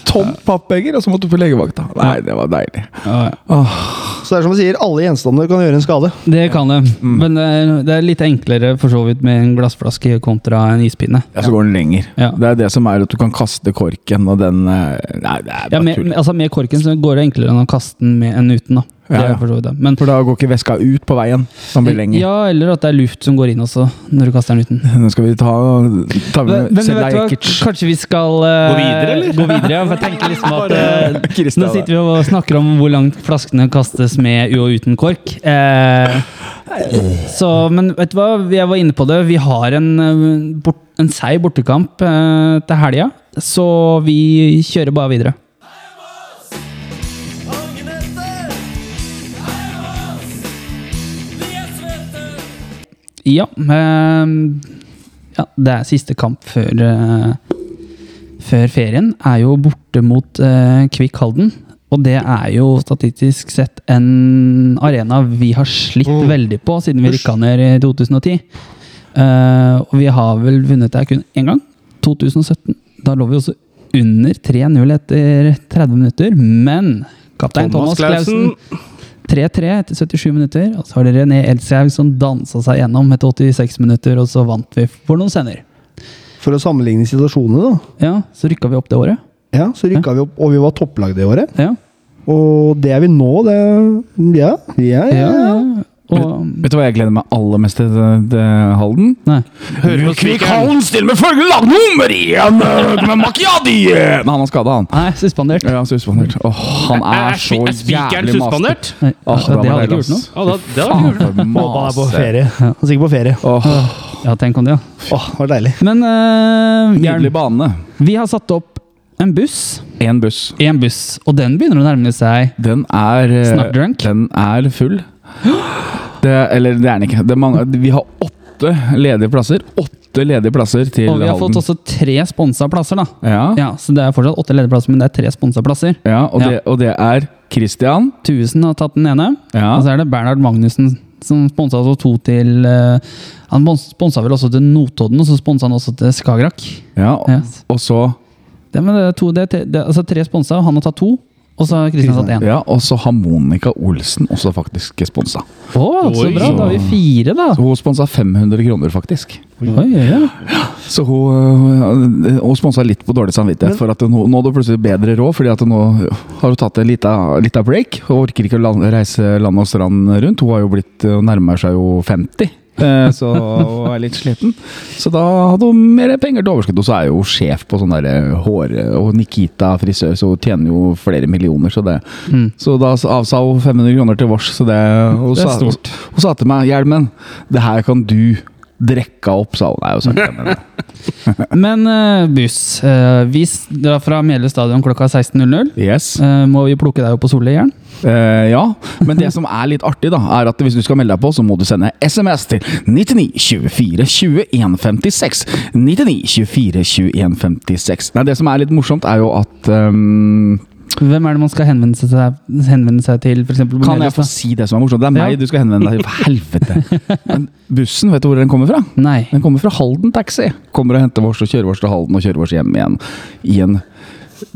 Speaker 1: tomt pappbeger, og så måtte du på legevakta. Nei, det var deilig.
Speaker 2: Ja, ja.
Speaker 4: Så det er som du sier, alle gjenstander kan gjøre en skade.
Speaker 2: Det kan det.
Speaker 1: Mm.
Speaker 2: Men det er, det er litt enklere for så vidt med en glassflaske kontra en ispinne.
Speaker 1: Ja, så går den lenger.
Speaker 2: Ja.
Speaker 1: Det er det som er at du kan kaste korken, og den eh, Nei, det er
Speaker 2: Ja,
Speaker 1: bare
Speaker 2: med,
Speaker 1: tull.
Speaker 2: med- altså med korken så går det enklere enn å kaste den med enn uten. da. Det
Speaker 1: Ja, ja.
Speaker 2: er for så vidt det. Men
Speaker 1: For da går ikke veska ut på veien. Den blir lenger.
Speaker 2: ja, eller at det er luft som går inn også, når du kaster den uten.
Speaker 1: Nå skal vi ta, ta
Speaker 2: Men,
Speaker 1: med
Speaker 2: men vet du hva,
Speaker 1: Selajikic.
Speaker 2: kanskje vi skal eh,
Speaker 3: Gå videre, eller?
Speaker 2: Gå videre, ja, for jeg tenker liksom at eh,
Speaker 1: Kristian,
Speaker 2: Nå sitter vi og snakker om hvor langt flaskene kastes med u- og uten kork. Eh, så, men vet du hva, jeg var inne på det. Vi har en, eh, bort, en seig bortekamp eh, til helga, så vi kjører bare videre. Ja, ehm, ja det er siste kamp før, eh, før ferien. Er jo borte mot eh, Kvikk Halden. Og det er jo statistisk sett en arena vi har slitt veldig på siden vi rykka ned i 2010. Eh, og vi har vel vunnet der kun én gang. 2017. Da lå vi også under 3-0 etter 30 minutter. Men kaptein Thomas, Clausen 3-3 etter 77 minutter. Og så var det René Elshaug som dansa seg gjennom etter 86 minutter, og så vant vi for noen sender.
Speaker 4: For å sammenligne situasjonene, da.
Speaker 2: Ja, så rykka vi opp det året.
Speaker 4: Ja, så rykka vi opp, og vi var topplag det året.
Speaker 2: Ja,
Speaker 4: Og det er vi nå, det Ja, ja, ja.
Speaker 2: ja,
Speaker 4: ja.
Speaker 2: ja. Og
Speaker 1: Vet du hva jeg gleder meg aller mest til, til Halden?
Speaker 2: Nei.
Speaker 3: Hører på spikeren.
Speaker 1: stiller med følgelig lag nummer én! eh, Med Makiadi! Nei, han er skada, han.
Speaker 2: Nei, suspendert.
Speaker 1: Ja, suspendert. Åh, han er,
Speaker 3: Er
Speaker 1: så
Speaker 3: spi- er spikeren
Speaker 1: jævlig masete.
Speaker 3: suspendert?
Speaker 2: Nei,
Speaker 1: Åh,
Speaker 2: ja, Ah, det
Speaker 1: var
Speaker 2: hadde
Speaker 1: deilig,
Speaker 2: ikke gjort
Speaker 1: ass.
Speaker 2: noe.
Speaker 3: Ja, da, det var
Speaker 1: Faen,
Speaker 3: kult.
Speaker 1: for
Speaker 4: Han er på
Speaker 1: mase.
Speaker 4: ferie. Han er sikkert på ferie.
Speaker 1: Åh,
Speaker 2: Ja, tenk om det, ja.
Speaker 4: Åh, det var deilig.
Speaker 2: Men eh, Jern,
Speaker 1: Nydelig bane.
Speaker 2: vi har satt opp en buss.
Speaker 1: Én buss.
Speaker 2: En buss. Og den begynner å nærme seg
Speaker 1: Den er eh,
Speaker 2: Snart drunk?
Speaker 1: Den er full. Det, eller det er den ikke. Det er mange, vi har åtte ledige plasser. Åtte ledige plasser til
Speaker 2: Og vi har
Speaker 1: Halden.
Speaker 2: fått også tre sponsa plasser, da.
Speaker 1: ja. Ja,
Speaker 2: Ja, Så det er fortsatt åtte lederplasser, men det er tre sponsa plasser.
Speaker 1: og, Det, og det er Christian.
Speaker 2: Tusen har tatt den ene.
Speaker 1: Ja.
Speaker 2: Og så er det Bernhard Magnussen som sponsa også to til eh, Han sponsa vel også til Notodden, og så sponsa han også til Skagerrak.
Speaker 1: ja,
Speaker 2: Ja.
Speaker 1: Og så
Speaker 2: Det, men det er to, det er, te- det er, altså tre sponsa, og han har tatt to. Og så har Kristian tatt én.
Speaker 1: ja, og så Harmonica Olsen, også faktisk sponsa.
Speaker 2: Å, så
Speaker 3: Oi.
Speaker 2: bra! Da har vi fire, da.
Speaker 1: Så hun sponsa 500 kroner, faktisk.
Speaker 2: Oi, oi, oi.
Speaker 1: Så hun, øh, hun sponsa litt på dårlig samvittighet for at nå, nå hadde hun plutselig bedre råd, fordi at nå har hun tatt en lita, lita break. Hun orker ikke å land, reise land og strand rundt. Hun har jo blitt, øh, nærmer seg jo 50. eh, Så hun er litt sliten. Så da hadde hun mer penger til overskudd. Og så er jo hun sjef på sånn der hår- og Nikita frisør, så hun tjener jo flere millioner. Så, det. så da avsa hun 500 kroner til vårs. Så det, hun
Speaker 2: Mm. Det er
Speaker 1: sa-
Speaker 2: stort.
Speaker 1: Hun sa til meg 'Hjelmen, det her kan du drekke opp', sa hun. Nei, hun sa ikke det. men-
Speaker 2: Men eh, buss. eh, vi s- drar fra Mjelde stadion klokka 16.00.
Speaker 1: Yes.
Speaker 2: Eh, må vi plukke deg opp på Solli igjen?
Speaker 1: Eh, ja, men det som er litt artig, da, er at hvis du skal melde deg på, så må du sende SMS til 99 24 21 56. 99 24 21 56. Nei, det som er litt morsomt, er jo at ehm,
Speaker 2: Hvem er det man skal henvende seg til, henvende seg til for eksempel, på
Speaker 1: Kan jeg få
Speaker 2: Melhus, da?
Speaker 1: si det som er morsomt? Det er meg
Speaker 2: Ja.
Speaker 1: du skal henvende deg til. For helvete! Men bussen, vet du hvor den kommer fra?
Speaker 2: Nei.
Speaker 1: Den kommer fra Halden Taxi. Kommer og henter vårs og kjører vårs til Halden og kjører vårs hjem igjen. I en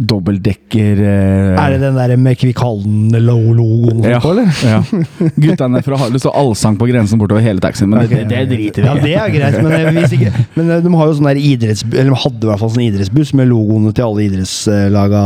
Speaker 1: dobbeltdekker eh,
Speaker 4: Er det den der med Kvikkhalden-logoen?
Speaker 1: Ja. ja. Guttene fra Harlem står allsang på grensen bortover hele taxien, men det, det driter
Speaker 4: Ja,
Speaker 1: vi i.
Speaker 4: det er greit, men, eh, hvis ikke, men eh, de har jo sånn der idretts... Eller de hadde i hvert fall sånn idrettsbuss med logoene til alle idrettslaga.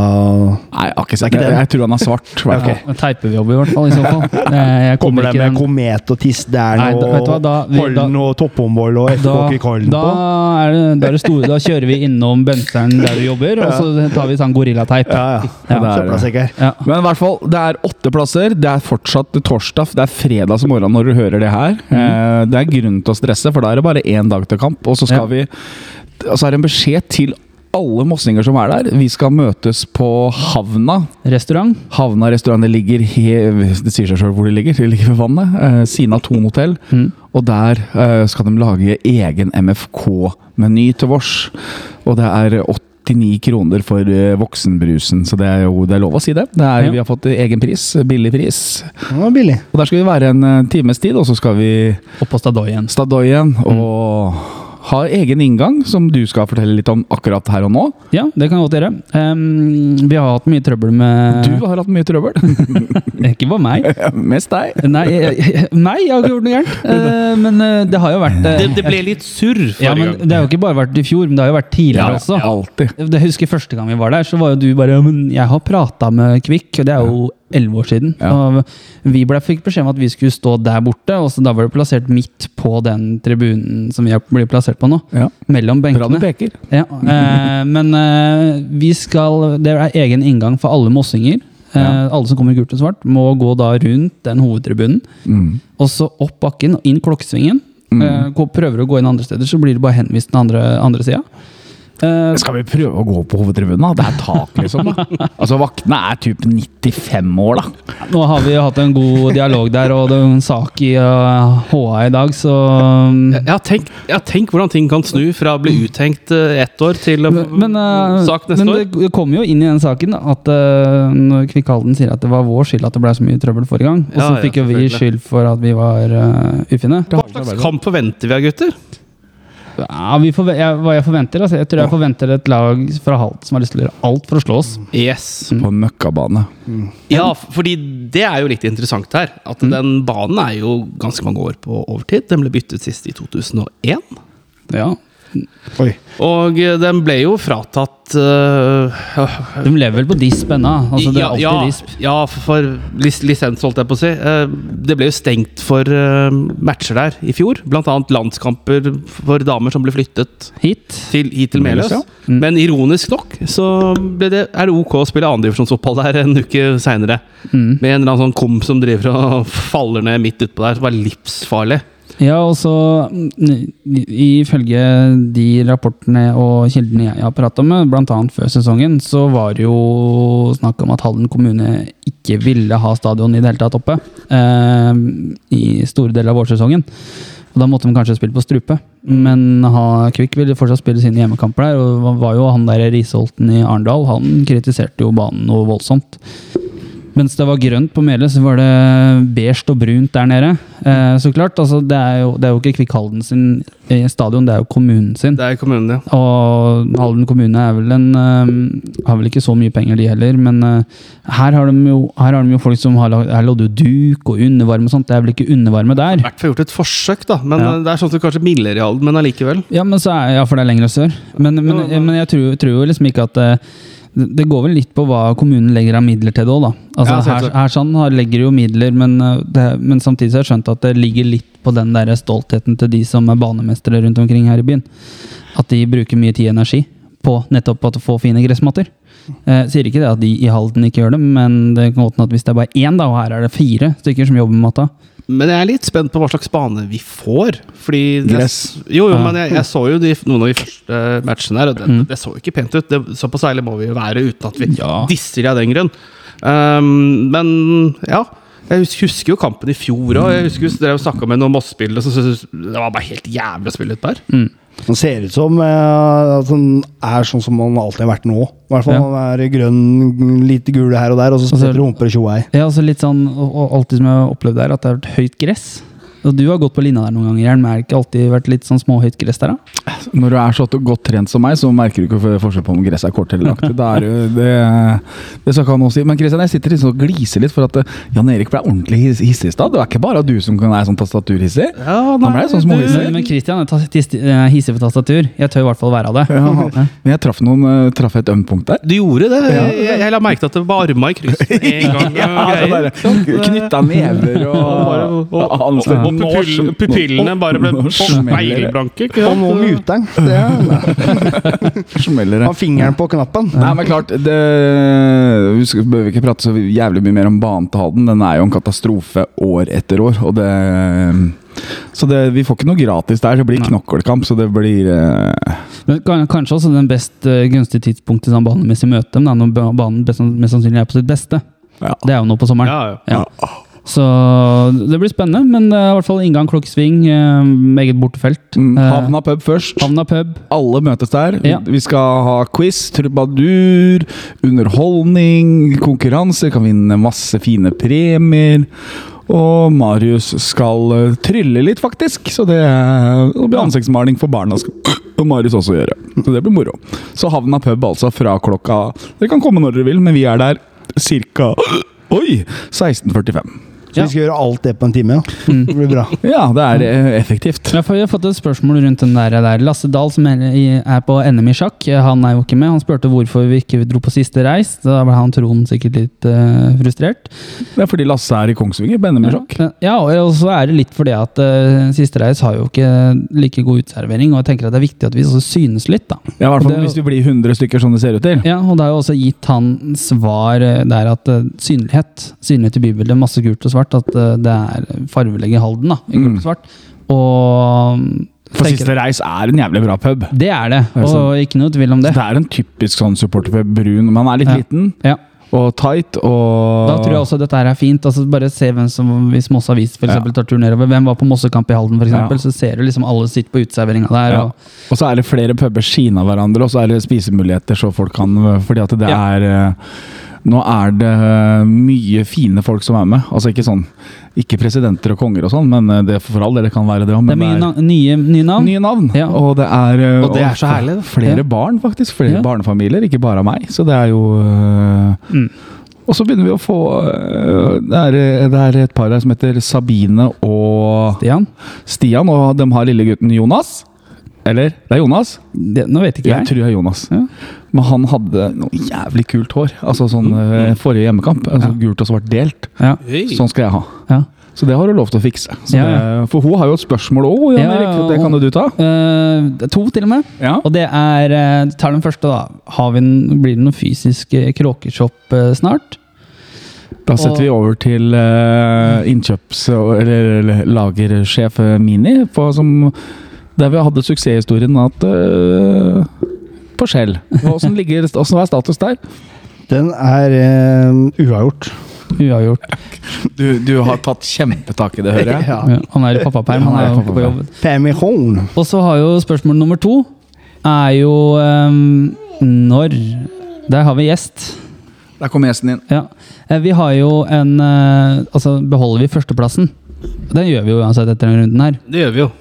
Speaker 1: Nei, jeg har ikke sett
Speaker 4: Det er ikke
Speaker 1: det.
Speaker 4: det.
Speaker 1: Jeg tror han er svart. i hvert fall.
Speaker 2: Ja, da teiper vi opp i hvert fall, i så fall. Eh, Jeg
Speaker 4: Kommer
Speaker 2: kommer
Speaker 4: det
Speaker 2: ikke
Speaker 4: med
Speaker 2: den.
Speaker 4: komet og tistdern
Speaker 2: Nei, da- vet du hva,
Speaker 4: og
Speaker 2: da- vi- da-
Speaker 4: Holden og Topphåndboll og FK
Speaker 2: Da,
Speaker 4: Kvikkhalden
Speaker 2: da,
Speaker 4: på?
Speaker 2: er det, da, er det store, da kjører vi innom Bønseren der du jobber, og så tar vi sånn gorillateip.
Speaker 4: Ja, ja.
Speaker 2: Ja,
Speaker 1: det er det.
Speaker 4: Søppelsekker.
Speaker 2: Ja.
Speaker 1: Men i hvert fall, det er åtte plasser. Det er fortsatt torsdag. Det er fredag som morgen når du hører det her.
Speaker 4: Mhm.
Speaker 1: Eh, Det er grunn til å stresse, for da er det bare én dag til kamp. Og så skal
Speaker 2: Ja.
Speaker 1: vi Og så er det en beskjed til alle mossinger som er der. Vi skal møtes på Havna.
Speaker 2: Restaurant.
Speaker 1: Havna restaurant det ligger hev, Det sier seg sjøl hvor det ligger. Det ligger ved vannet. Eh, Sina Thon hotell.
Speaker 2: Hm.
Speaker 1: Og der eh, skal de lage egen MFK-meny til vårs. Og det er 89 kroner for eh, voksenbrusen, så det er jo det er lov å si det. det er,
Speaker 2: Ja.
Speaker 1: Vi har fått egen pris. Billig pris.
Speaker 4: Det var billig.
Speaker 1: Og der skal vi være en eh, times tid, og så skal vi
Speaker 2: Opp på Stadoyen.
Speaker 1: Stadoyen og ha egen inngang, som du skal fortelle litt om akkurat her og nå.
Speaker 2: Ja, det kan jeg godt gjøre. Em, vi har hatt mye trøbbel med
Speaker 1: Du har hatt mye trøbbel.
Speaker 2: Ikke bare meg.
Speaker 1: Mest deg.
Speaker 2: Nei, jeg, jeg- nei, jeg har ikke gjort noe gærent. Eh, men eh, det har jo vært eh,
Speaker 3: Det, det ble litt surr forrige
Speaker 2: ja, men
Speaker 3: gang.
Speaker 2: Det har jo ikke bare vært i fjor, men det har jo vært tidligere også.
Speaker 1: alltid.
Speaker 2: Det jeg husker Første gang vi var der, så var jo du bare «Ja, men 'Jeg har prata med Kvikk', og det er jo elleve år siden.
Speaker 1: Ja.
Speaker 2: Og vi ble, fikk beskjed om at vi skulle stå der borte, og så da var det plassert midt på den tribunen som vi er- blir plassert på nå.
Speaker 1: Ja.
Speaker 2: Mellom
Speaker 1: Bra du
Speaker 2: benkene.
Speaker 1: peker.
Speaker 2: Ja, eh, men eh, vi skal Det er egen inngang for alle mossinger. Eh,
Speaker 1: Ja.
Speaker 2: Alle som kommer i gult og svart, må gå da rundt den hovedtribunen.
Speaker 1: Mm.
Speaker 2: Og så opp bakken og inn klokkesvingen. Eh, gå- prøver å gå inn andre steder, så blir du bare henvist til den andre, andre sida. Eh,
Speaker 1: Skal vi prøve å gå på hovedtribunen? da? Det er tak, liksom. da. Altså, Vaktene er typ 95 år, da.
Speaker 2: nå har vi jo hatt en god dialog der, og det er en sak i eh, HA i dag, så um,
Speaker 3: Jeg har, tenkt, jeg har tenkt hvordan ting kan snu fra å bli uthengt eh, ett år til å få
Speaker 2: Mm. Men, eh,
Speaker 3: mm, sak neste
Speaker 2: men
Speaker 3: år.
Speaker 2: det det kommer jo inn i den saken da, at eh, når Kvikkhalden sier at det var vår skyld at det ble så mye trøbbel forrige gang, og så
Speaker 3: Ja, ja,
Speaker 2: fikk jo vi
Speaker 3: selvfølgelig.
Speaker 2: skyld for at vi var eh, ufine.
Speaker 3: Hva slags kamp forventer vi av gutter?
Speaker 2: Ja, vi forve- jeg, hva jeg forventer, altså, jeg tror jeg forventer et lag fra Halt som har lyst til å gjøre alt for å slå oss.
Speaker 3: Yes.
Speaker 1: På en møkkabane.
Speaker 3: Ja, f- fordi det er jo litt interessant her. At
Speaker 2: Mm.
Speaker 3: den banen er jo ganske mange år på overtid. Den ble byttet sist i 2001.
Speaker 2: Ja,
Speaker 4: Oi.
Speaker 3: Og eh, den ble jo fratatt eh,
Speaker 2: De lever vel på disp ennå. Altså, det er alltid
Speaker 3: ja,
Speaker 2: disp.
Speaker 3: ja, for lis lisens, holdt jeg på å si. Eh, Det ble jo stengt for eh, matcher der i fjor. Blant annet landskamper for damer som ble flyttet
Speaker 2: Hit.
Speaker 3: til, hit til Meløs.
Speaker 1: Meløs,
Speaker 2: Mm.
Speaker 3: Men ironisk nok så ble det, er det ok å spille andredivisjonsfotball der en uke seinere.
Speaker 2: Mm.
Speaker 3: Med en eller annen sånn komp som driver og faller ned midt utpå der, som er livsfarlig.
Speaker 2: Ja, og så mm, ifølge de rapportene og kildene jeg har prata med, bl.a. før sesongen, så var det jo snakk om at Halden kommune ikke ville ha stadion i det hele tatt oppe eh, i store deler av vårsesongen. Og da måtte de kanskje spille på strupe, men ha, Kvikk ville fortsatt spille sine hjemmekamper der. Og det var jo han der Risholten i Arendal, han kritiserte jo banen noe voldsomt. Mens det var grønt på Mele, så var det beige og brunt der nede. Eh, så klart, altså, det, er jo, det er jo ikke Kvikk Halden sin eh, stadion, det er jo kommunen sin.
Speaker 3: Det er kommunen, ja.
Speaker 2: Og Halden kommune er vel en, eh, har vel ikke så mye penger, de heller. Men eh, her, har de jo, her har de jo folk som har lagd Her lå det jo duk og undervarme og sånt. Det er vel ikke undervarme
Speaker 3: I
Speaker 2: der.
Speaker 3: hvert fall gjort et forsøk, da. Men
Speaker 2: Ja.
Speaker 3: eh, det er sånn at du kanskje mildere i Halden, men allikevel.
Speaker 2: Ja, men så er, ja, for det er lenger sør. Men, men,
Speaker 3: Ja, men-
Speaker 2: men jeg tror, tror jo liksom ikke at eh, det, det går vel litt på hva kommunen legger av midler til det òg, da. Altså,
Speaker 3: Ja,
Speaker 2: her,
Speaker 3: selvsagt.
Speaker 2: her sånn har, legger jo midler, men, eh, det, men samtidig så har jeg skjønt at det ligger litt på den der stoltheten til de som er banemestere rundt omkring her i byen. At de bruker mye tid og energi på nettopp at å få fine gressmatter. Eh, sier ikke det at de i Halden ikke gjør det, men det kan godt hende at hvis det er bare én, da, og her er det fire stykker som jobber med matta
Speaker 3: Men jeg er litt spent på hva slags bane vi får. Fordi det-
Speaker 1: Gress.
Speaker 3: Jo, jo,
Speaker 2: Ja.
Speaker 3: men jeg, jeg så jo de, noen av de første matchene her, og det, det så jo ikke pent ut. Det, såpass ærlig må vi jo være uten at vi
Speaker 2: Ja.
Speaker 3: disser de av den grunn. Ehm, men ja. Jeg hus- husker jo kampen i fjor òg. Jeg husker dere snakka med noen Moss-spillere som syntes det var bare helt jævlig å spille ut der.
Speaker 4: Han ser ut som eh, at han er sånn som han alltid har vært nå. I hvert fall
Speaker 2: Ja.
Speaker 4: han er grønn, litt gule her og der, og så
Speaker 2: så-
Speaker 4: spretter det humper og tjoei.
Speaker 2: Ja, altså litt sånn, og, og alltid som jeg har opplevd der, at det har vært høyt gress. Og du har gått på linja der noen ganger, Jern, men har det ikke alltid vært litt sånn småhøyt gress der, da?
Speaker 1: Når du er så godt trent som meg, så merker du ikke forskjell på om gresset er kort eller langt. Da er du, det, det skal ikke ha noe å si. Men Kristian, jeg sitter liksom og gliser litt, for at eh, Jan Erik ble ordentlig his- hissig i stad. Det er ikke bare du som kan være sånn tastaturhissig. Han
Speaker 3: Ja,
Speaker 1: ble sånn som
Speaker 3: du-
Speaker 1: Moise.
Speaker 2: Men, men Christian er tas- tis- eh, hissig på tastatur. Jeg tør i hvert fall være av det.
Speaker 1: Ja, men jeg traff, noen, eh, traff et ømt punkt der.
Speaker 3: Du gjorde det. Jeg, jeg la merke til at det var arma i kryss en gang. og
Speaker 1: Ja, altså
Speaker 3: greier.
Speaker 1: bare Knytta never og,
Speaker 3: og-
Speaker 1: og ansikt.
Speaker 3: Og pupillen, pupillene bare ble
Speaker 1: Nå smeller det.
Speaker 3: speilblanke. ikke
Speaker 4: Og nå
Speaker 3: sant?
Speaker 4: muter han. Det er-
Speaker 1: Smeller det.
Speaker 4: Han fingeren på knappen.
Speaker 1: Nei, men klart, det, vi skal- behøver ikke prate så jævlig mye mer om banen til Halden. Den er jo en katastrofe år etter år, og det Så det, vi får ikke noe gratis der. Det blir
Speaker 2: Nei.
Speaker 1: knokkelkamp, så det blir eh,
Speaker 2: Men kan- kanskje også den best eh, gunstige tidspunktet sånn banemessig møte, men da, når ba- banen best, mest sannsynlig er på sitt beste.
Speaker 1: Ja.
Speaker 2: Det er jo nå på sommeren.
Speaker 3: Ja, ja.
Speaker 2: Ja. Så det blir spennende, men det er i hvert fall inngang, klokkesving, eh, meget bortefelt.
Speaker 1: mm,
Speaker 2: Eh,
Speaker 1: Havna pub først.
Speaker 2: Havna pub.
Speaker 1: Alle møtes der.
Speaker 2: Ja.
Speaker 1: Vi skal ha quiz, trubadur, underholdning, konkurranse. Kan vinne masse fine premier. Og Marius skal eh, trylle litt, faktisk. Så det, eh, det blir ansiktsmaling for barna. Skal og Marius også gjøre. Så det blir moro. Så Havna pub altså fra klokka Dere kan komme når dere vil, men vi er der ca. Oi! 16.45.
Speaker 4: Så vi skal gjøre alt det på en time. Ja.
Speaker 2: Mm.
Speaker 4: Det blir bra.
Speaker 1: Ja, det er eh, effektivt.
Speaker 2: Jeg har, jeg har fått et spørsmål rundt den der. der. Lasse Dahl, som er i- er på NM i sjakk, eh, han er jo ikke med. Han spurte hvorfor vi ikke dro på siste reis. Da ble han Trond sikkert litt eh, frustrert.
Speaker 1: Det er fordi Lasse er i Kongsvinger på NM-sjokk.
Speaker 2: Men- Ja, og og så er det litt fordi at eh, siste reis har jo ikke like god utservering, og jeg tenker at det er viktig at vi også synes litt, da.
Speaker 1: Ja, i hvert fall
Speaker 2: Det-
Speaker 1: hvis vi blir 100 stykker, som det ser ut til.
Speaker 2: Ja, og det er jo også gitt han svar eh, der at eh, synlighet, synlighet i bybildet, masse gult og svart, at eh, det er farvelegge Halden, da, i
Speaker 1: Mm.
Speaker 2: gult og svart. Og
Speaker 1: For
Speaker 2: tenker-
Speaker 1: Siste Reis er en jævlig bra pub.
Speaker 2: Det er det,
Speaker 1: Er det
Speaker 2: og ikke noe tvil om
Speaker 1: Det,
Speaker 2: det.
Speaker 1: er en typisk sånn supporterpub. Brun. Man er litt
Speaker 2: Ja.
Speaker 1: liten
Speaker 2: Ja.
Speaker 1: og tight og
Speaker 2: Da tror jeg også dette her er fint. Altså bare se hvem som, Hvis Moss Avis for
Speaker 1: Ja.
Speaker 2: eksempel, tar tur nedover, hvem var på Mossekamp i Halden, for eksempel,
Speaker 1: Ja.
Speaker 2: så ser du liksom alle sitter på uteserveringa der.
Speaker 1: ja.
Speaker 2: Og,
Speaker 1: Og så er det flere puber siden av hverandre, og så er det spisemuligheter så folk kan Fordi at det
Speaker 2: Ja.
Speaker 1: er eh, Nå er det eh, mye fine folk som er med. Altså ikke sånn Ikke presidenter og konger og sånn, men eh, det for all del det kan være det òg.
Speaker 2: det er mye na nye, nye navn.
Speaker 1: Nye navn.
Speaker 2: Ja.
Speaker 1: Og det er, eh,
Speaker 3: Og det er så herlig, da.
Speaker 1: Flere
Speaker 2: Ja.
Speaker 1: barn, faktisk. Flere
Speaker 2: Ja.
Speaker 1: barnefamilier, ikke bare av meg. Så det er jo eh,
Speaker 2: Mm.
Speaker 1: Og så begynner vi å få eh, det er, det er et par her som heter Sabine og
Speaker 2: Stian?
Speaker 1: Stian, og de har lille gutten Jonas. Eller? Det er Jonas?
Speaker 2: Det, nå vet ikke
Speaker 1: Jeg
Speaker 2: jeg.
Speaker 1: tror det er Jonas.
Speaker 2: Ja.
Speaker 1: Men han hadde noe jævlig kult hår. Altså sånn
Speaker 2: Mm.
Speaker 1: eh, forrige hjemmekamp. Altså, Gult og svart delt.
Speaker 2: Ja,
Speaker 1: Sånn skal jeg ha.
Speaker 2: ja.
Speaker 1: Så det har du lov til å fikse. Så
Speaker 2: Ja,
Speaker 1: det, for hun har jo et spørsmål òg, Jan
Speaker 2: Ja,
Speaker 1: Erik. Det kan jo du ta.
Speaker 2: Eh, det er to, til og med.
Speaker 1: Ja.
Speaker 2: Og det er eh, Tar den første, da. Har vi en, blir det noe fysisk eh, kråkechopp eh, snart?
Speaker 1: Da setter vi over til eh, innkjøps- og- eller eller lagersjef eh, Mini, på, som, der vi hadde suksesshistorien at eh, på Skjell. Åssen ligger- åssen er status der?
Speaker 4: Den er eh, uavgjort.
Speaker 2: Uavgjort.
Speaker 1: Du, har tatt kjempetak i det, hører jeg.
Speaker 2: Ja, han er i pappaperm, han er jo på jobb.
Speaker 4: Permisjon.
Speaker 2: Og så har jo spørsmål nummer to er jo ehm, når Der har vi gjest.
Speaker 1: Der kom gjesten inn.
Speaker 2: Ja. Eh, Vi har jo en eh, Altså, beholder vi førsteplassen? Den gjør vi jo uansett etter denne runden her.
Speaker 3: Det gjør vi jo.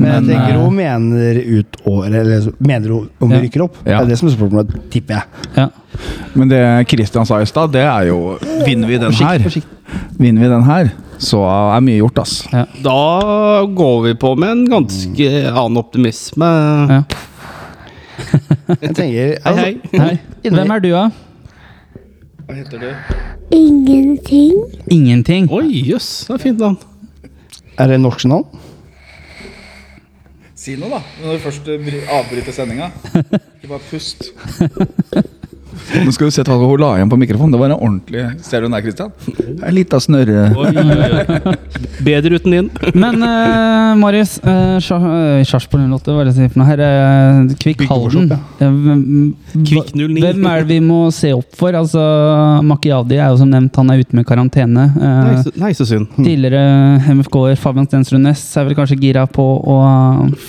Speaker 4: Men jeg
Speaker 2: Men,
Speaker 4: tenker
Speaker 2: eh,
Speaker 4: hun mener ut året, eller altså, mener hun om vi
Speaker 2: Ja.
Speaker 4: rykker opp?
Speaker 1: Ja.
Speaker 4: Det er det som er spørsmålet, tipper jeg.
Speaker 2: Ja.
Speaker 1: Men det Christian sa i stad, det er jo Vinner vi den her, vinner vi den her, så er mye gjort, ass.
Speaker 3: Da går vi på med en ganske annen optimisme.
Speaker 2: ja.
Speaker 4: Jeg tenker,
Speaker 3: Hei,
Speaker 4: altså,
Speaker 3: hei.
Speaker 2: Hei. Hvem er du, da?
Speaker 5: Ingenting.
Speaker 2: Ingenting.
Speaker 3: Oi, jøss. Det er fint navn.
Speaker 4: Er det norsk navn?
Speaker 1: Si noe, da. Når du først eh, avbryter sendinga. Ikke bare pust. Nå skal du se hva hun la igjen på mikrofonen. Det var en ordentlig Ser du den der, Christian? En lita snørre.
Speaker 3: Oi, oi, oi. Bedre uten din.
Speaker 2: Men eh, Marius, eh, Sja- eh, Sarpsborg 08, hva er det jeg sier for noe her? Eh, Kvikk Halden. Eh, hvem-
Speaker 3: Kvikk 09.
Speaker 2: Hvem er det vi må se opp for? Altså, Makiadi er jo som nevnt, han er ute med karantene. Eh,
Speaker 3: Nei, så- Mm. Nei, så synd.
Speaker 2: Tidligere MFK-er Fabian Stensrud Næss er vel kanskje gira på å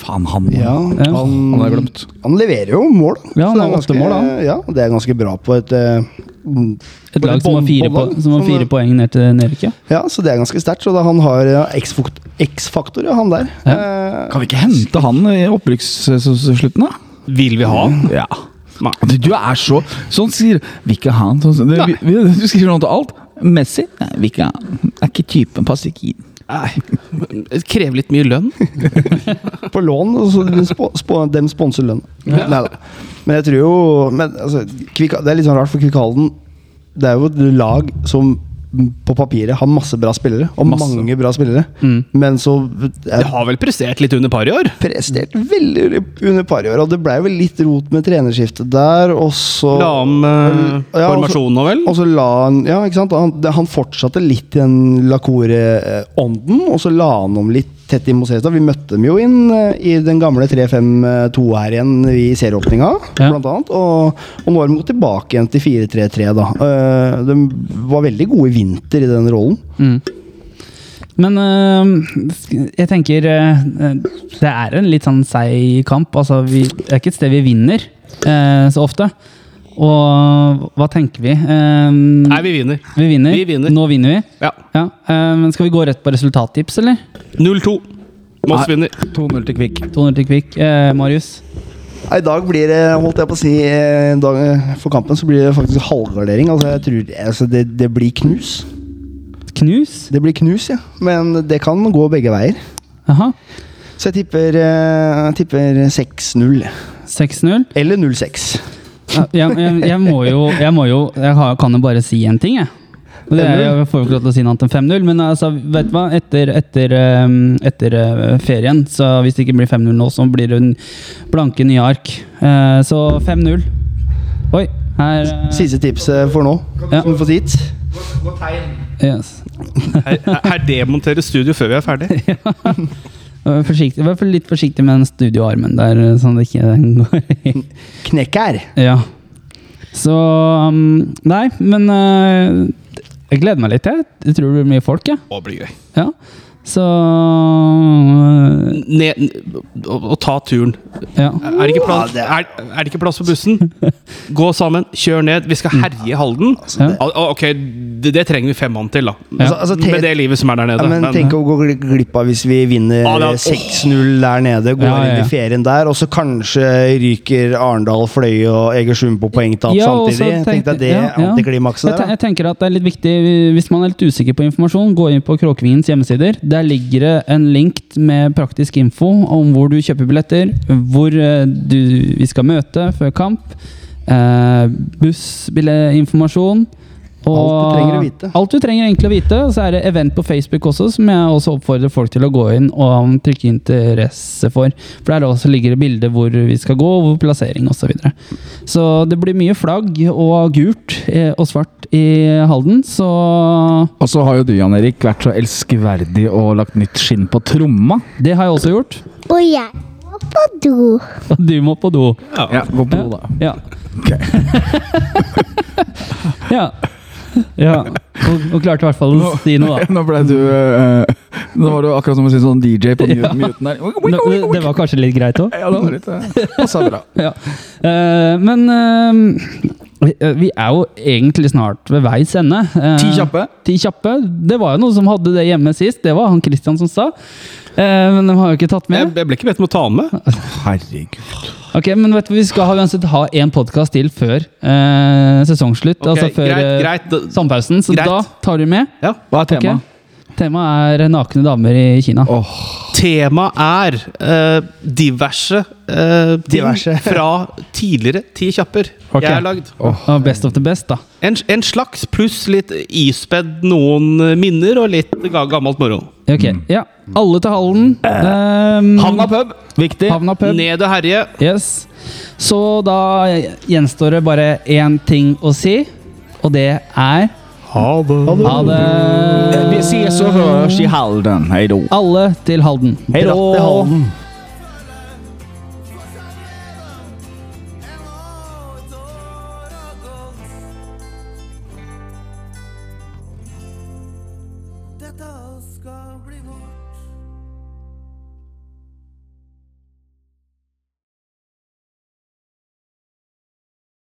Speaker 1: Faen, han
Speaker 4: Ja,
Speaker 2: Ja.
Speaker 4: han,
Speaker 1: Han har jeg glemt.
Speaker 4: han leverer jo mål. da.
Speaker 2: Ja, han
Speaker 4: Så det er
Speaker 2: har åtte
Speaker 4: ganske-
Speaker 2: mål, da.
Speaker 4: Ja, det er ganske bra på et eh, mm,
Speaker 2: Et
Speaker 4: på
Speaker 2: lag
Speaker 4: et
Speaker 2: som har
Speaker 4: bånd-
Speaker 2: fire,
Speaker 4: båndlag,
Speaker 2: po som har
Speaker 4: som, eh,
Speaker 2: fire poeng ned til nedrykket.
Speaker 4: Ja, så det er ganske sterkt. Så da han har ja, X-fakt- X-faktor, ja, han der. Eh,
Speaker 1: Kan vi ikke hente han i opprykksslutten, da?
Speaker 3: Vil vi ha den?
Speaker 1: Ja.
Speaker 3: Nei.
Speaker 1: Du, du er så Sånn sier Vil ikke ha han. Sånn, sånn- det, vi, du skriver noe til alt. Messi? Nei, vil ikke ha han. Er ikke typen. Passer ikke inn.
Speaker 3: Nei. Det krever litt mye lønn.
Speaker 4: på lån, og så de spo, spo, dem sponser lønn. Neida. Men jeg tror jo men, altså, Kvik, Det er litt sånn rart, for Kvikk Halden Det er jo et lag som mm, på papiret har masse bra spillere, og
Speaker 1: Masse.
Speaker 4: mange bra spillere,
Speaker 2: Mm.
Speaker 4: men så eh,
Speaker 3: Det
Speaker 4: er
Speaker 3: har vel prestert litt under par i år?
Speaker 4: prestert veldig under par i år, og det blei vel litt rot med trenerskiftet der, og så
Speaker 3: La om eh,
Speaker 4: Ja, og så-
Speaker 3: formasjonen nå, vel?
Speaker 4: Og så la han Ja, ikke sant? Han, det, han fortsatte litt i den Lacore-ånden, og så la han om litt tett inn mot Serestad. Vi møtte dem jo inn eh, i den gamle 3-5-2 her igjen i serieåpninga,
Speaker 2: Ja.
Speaker 4: blant annet. Og, og nå har de gått tilbake igjen til 4-3-3, da. Eh, de var veldig gode i vinter i den rollen.
Speaker 2: Mm. Men øhm, jeg tenker øh, det er en litt sånn seig kamp. Altså, vi, det er ikke et sted vi vinner eh, så ofte. Og hva tenker vi? Ehm,
Speaker 3: Nei, vi vinner.
Speaker 2: vi, vinner.
Speaker 3: vi vinner.
Speaker 2: Nå vinner vi.
Speaker 3: Ja.
Speaker 2: Ja, eh, men skal vi gå rett på resultattips, eller?
Speaker 3: 0-2. Moss
Speaker 1: Nei.
Speaker 3: vinner.
Speaker 1: 2-0 til Kvikk.
Speaker 2: 200 til Kvikk. Eh, Marius?
Speaker 4: Nei, I dag blir det, holdt jeg på å si, eh, dag, eh, for kampen så blir det faktisk halvgardering. Altså, jeg tror, altså det, det blir knus.
Speaker 2: Knus?
Speaker 4: Det blir knus, ja. Men det kan gå begge veier.
Speaker 2: Jaha.
Speaker 4: Så jeg tipper, eh, jeg tipper 6-0.
Speaker 2: 6-0.
Speaker 4: Eller 0-6.
Speaker 2: Ja, jeg, jeg, jeg må jo Jeg, må jo, jeg har, kan jo bare si én ting, jeg. Og det er, jeg får jo ikke lov til å si noe annet enn 5-0, men altså, vet du hva? Etter, etter, ehm, etter eh, ferien, så hvis det ikke blir 5-0 nå, så blir det en blanke nye ark. Eh, så 5-0. Oi, her eh,
Speaker 4: Siste tipset for nå.
Speaker 2: Ja.
Speaker 4: Som vi får dit.
Speaker 2: yes.
Speaker 3: Her, her demonteres studio før vi er ferdig.
Speaker 2: Vær Forsiktig, vær litt forsiktig med den studioarmen der, eh, sånn at ikke den går i
Speaker 4: Knekk her.
Speaker 2: Ja. Så ehm, Nei, men eh, jeg gleder meg litt, jeg. Jeg tror det blir mye folk, jeg.
Speaker 3: Å, blir gøy.
Speaker 2: Ja. Så øh,
Speaker 3: Ned, å, å ta turen.
Speaker 2: Ja.
Speaker 3: Er det, ikke plass, er, er det ikke plass på bussen? Gå sammen, kjør ned. Vi skal herje Halden.
Speaker 2: Ja.
Speaker 3: Al- al- Ok, det, det trenger vi fem mann til, da.
Speaker 4: Altså, altså, te-
Speaker 3: Med det livet som er der
Speaker 4: ja,
Speaker 3: nede.
Speaker 4: men
Speaker 3: Men-
Speaker 4: tenk å gå gl- glipp av hvis vi vinner
Speaker 3: Ah, det er-
Speaker 4: 6-0 der nede, går
Speaker 2: Ja, ja, ja.
Speaker 4: inn i ferien der, og så kanskje ryker Arendal, Fløy og Egersund på poengtap
Speaker 2: Ja, og så
Speaker 4: samtidig. Tenk
Speaker 2: tenkte-
Speaker 4: deg det
Speaker 2: ja, ja.
Speaker 4: antiklimakset
Speaker 2: Jeg, te-
Speaker 4: der. da.
Speaker 2: jeg tenker at det er litt viktig eh, Hvis man er litt usikker på informasjon, gå inn på Kråkevingens hjemmesider. Der ligger det en link med praktisk info om hvor du kjøper billetter, hvor eh, du, vi skal møte før kamp, eh, bussbillettinformasjon
Speaker 4: Alt du trenger å vite.
Speaker 2: Alt du trenger egentlig å vite. Og så er det event på Facebook også, som jeg også oppfordrer folk til å gå inn og trykke interesse for. For der også ligger det bilder hvor vi skal gå, og hvor plassering osv. Så, videre. så det blir mye flagg og gult eh, og svart i Halden, så
Speaker 1: Og så har jo du, Jan Erik, vært så elskverdig og lagt nytt skinn på tromma.
Speaker 2: det har jeg også gjort.
Speaker 5: Og jeg må på do.
Speaker 2: Og du må på do.
Speaker 1: Ja, gå på do, da.
Speaker 2: Ja. ja. ja. Og, og klarte i hvert fall å si noe, da.
Speaker 1: Nå ble du eh, Nå var det jo akkurat som å si sånn DJ på mute-
Speaker 2: Ja.
Speaker 1: muten der.
Speaker 2: Nå, det, det var kanskje litt greit òg.
Speaker 1: Ja, det var litt eh, Passa bra.
Speaker 2: Ja. Eh, men eh, vi- eh, vi er jo egentlig snart ved veis ende. Eh,
Speaker 1: Ti kjappe.
Speaker 2: Ti kjappe. Det var jo noen som hadde det hjemme sist. Det var han Christian som sa. Eh, men de har jo ikke tatt
Speaker 3: Jeg,
Speaker 2: med.
Speaker 3: jeg ble ikke bedt om å ta den med.
Speaker 1: Herregud.
Speaker 2: Ok, men vet du, Vi skal ha, uansett ha én podkast til før eh, sesongslutt.
Speaker 3: Ok,
Speaker 2: altså før
Speaker 3: greit,
Speaker 2: eh,
Speaker 3: greit. Da-
Speaker 2: sommerpausen. Så
Speaker 3: Greit.
Speaker 2: da tar du med.
Speaker 3: Ja.
Speaker 1: Hva er temaet?
Speaker 2: Ok. Temaet er nakne damer i Kina.
Speaker 3: Temaet er eh, diverse, eh, ting
Speaker 4: Diverse.
Speaker 3: fra tidligere Ti kjapper
Speaker 2: Ok.
Speaker 3: jeg har lagd.
Speaker 2: Og Best of the best, da.
Speaker 3: En, en slags pluss litt ispedd noen eh, minner og litt ga, gammelt moro.
Speaker 2: Ok,
Speaker 3: Mm.
Speaker 2: ja. Alle til Halden.
Speaker 3: Eh,
Speaker 2: Um,
Speaker 1: Havna pub. Viktig.
Speaker 2: Havna pub.
Speaker 3: Ned og herje.
Speaker 2: Yes. Så da gjenstår det bare én ting å si, og det er Ha det.
Speaker 1: Eh, Vi ses og høres i Halden. Hei då.
Speaker 2: Alle til Halden.
Speaker 1: Hei
Speaker 4: Dratt til Halden.
Speaker 6: Dette skal bli vårt.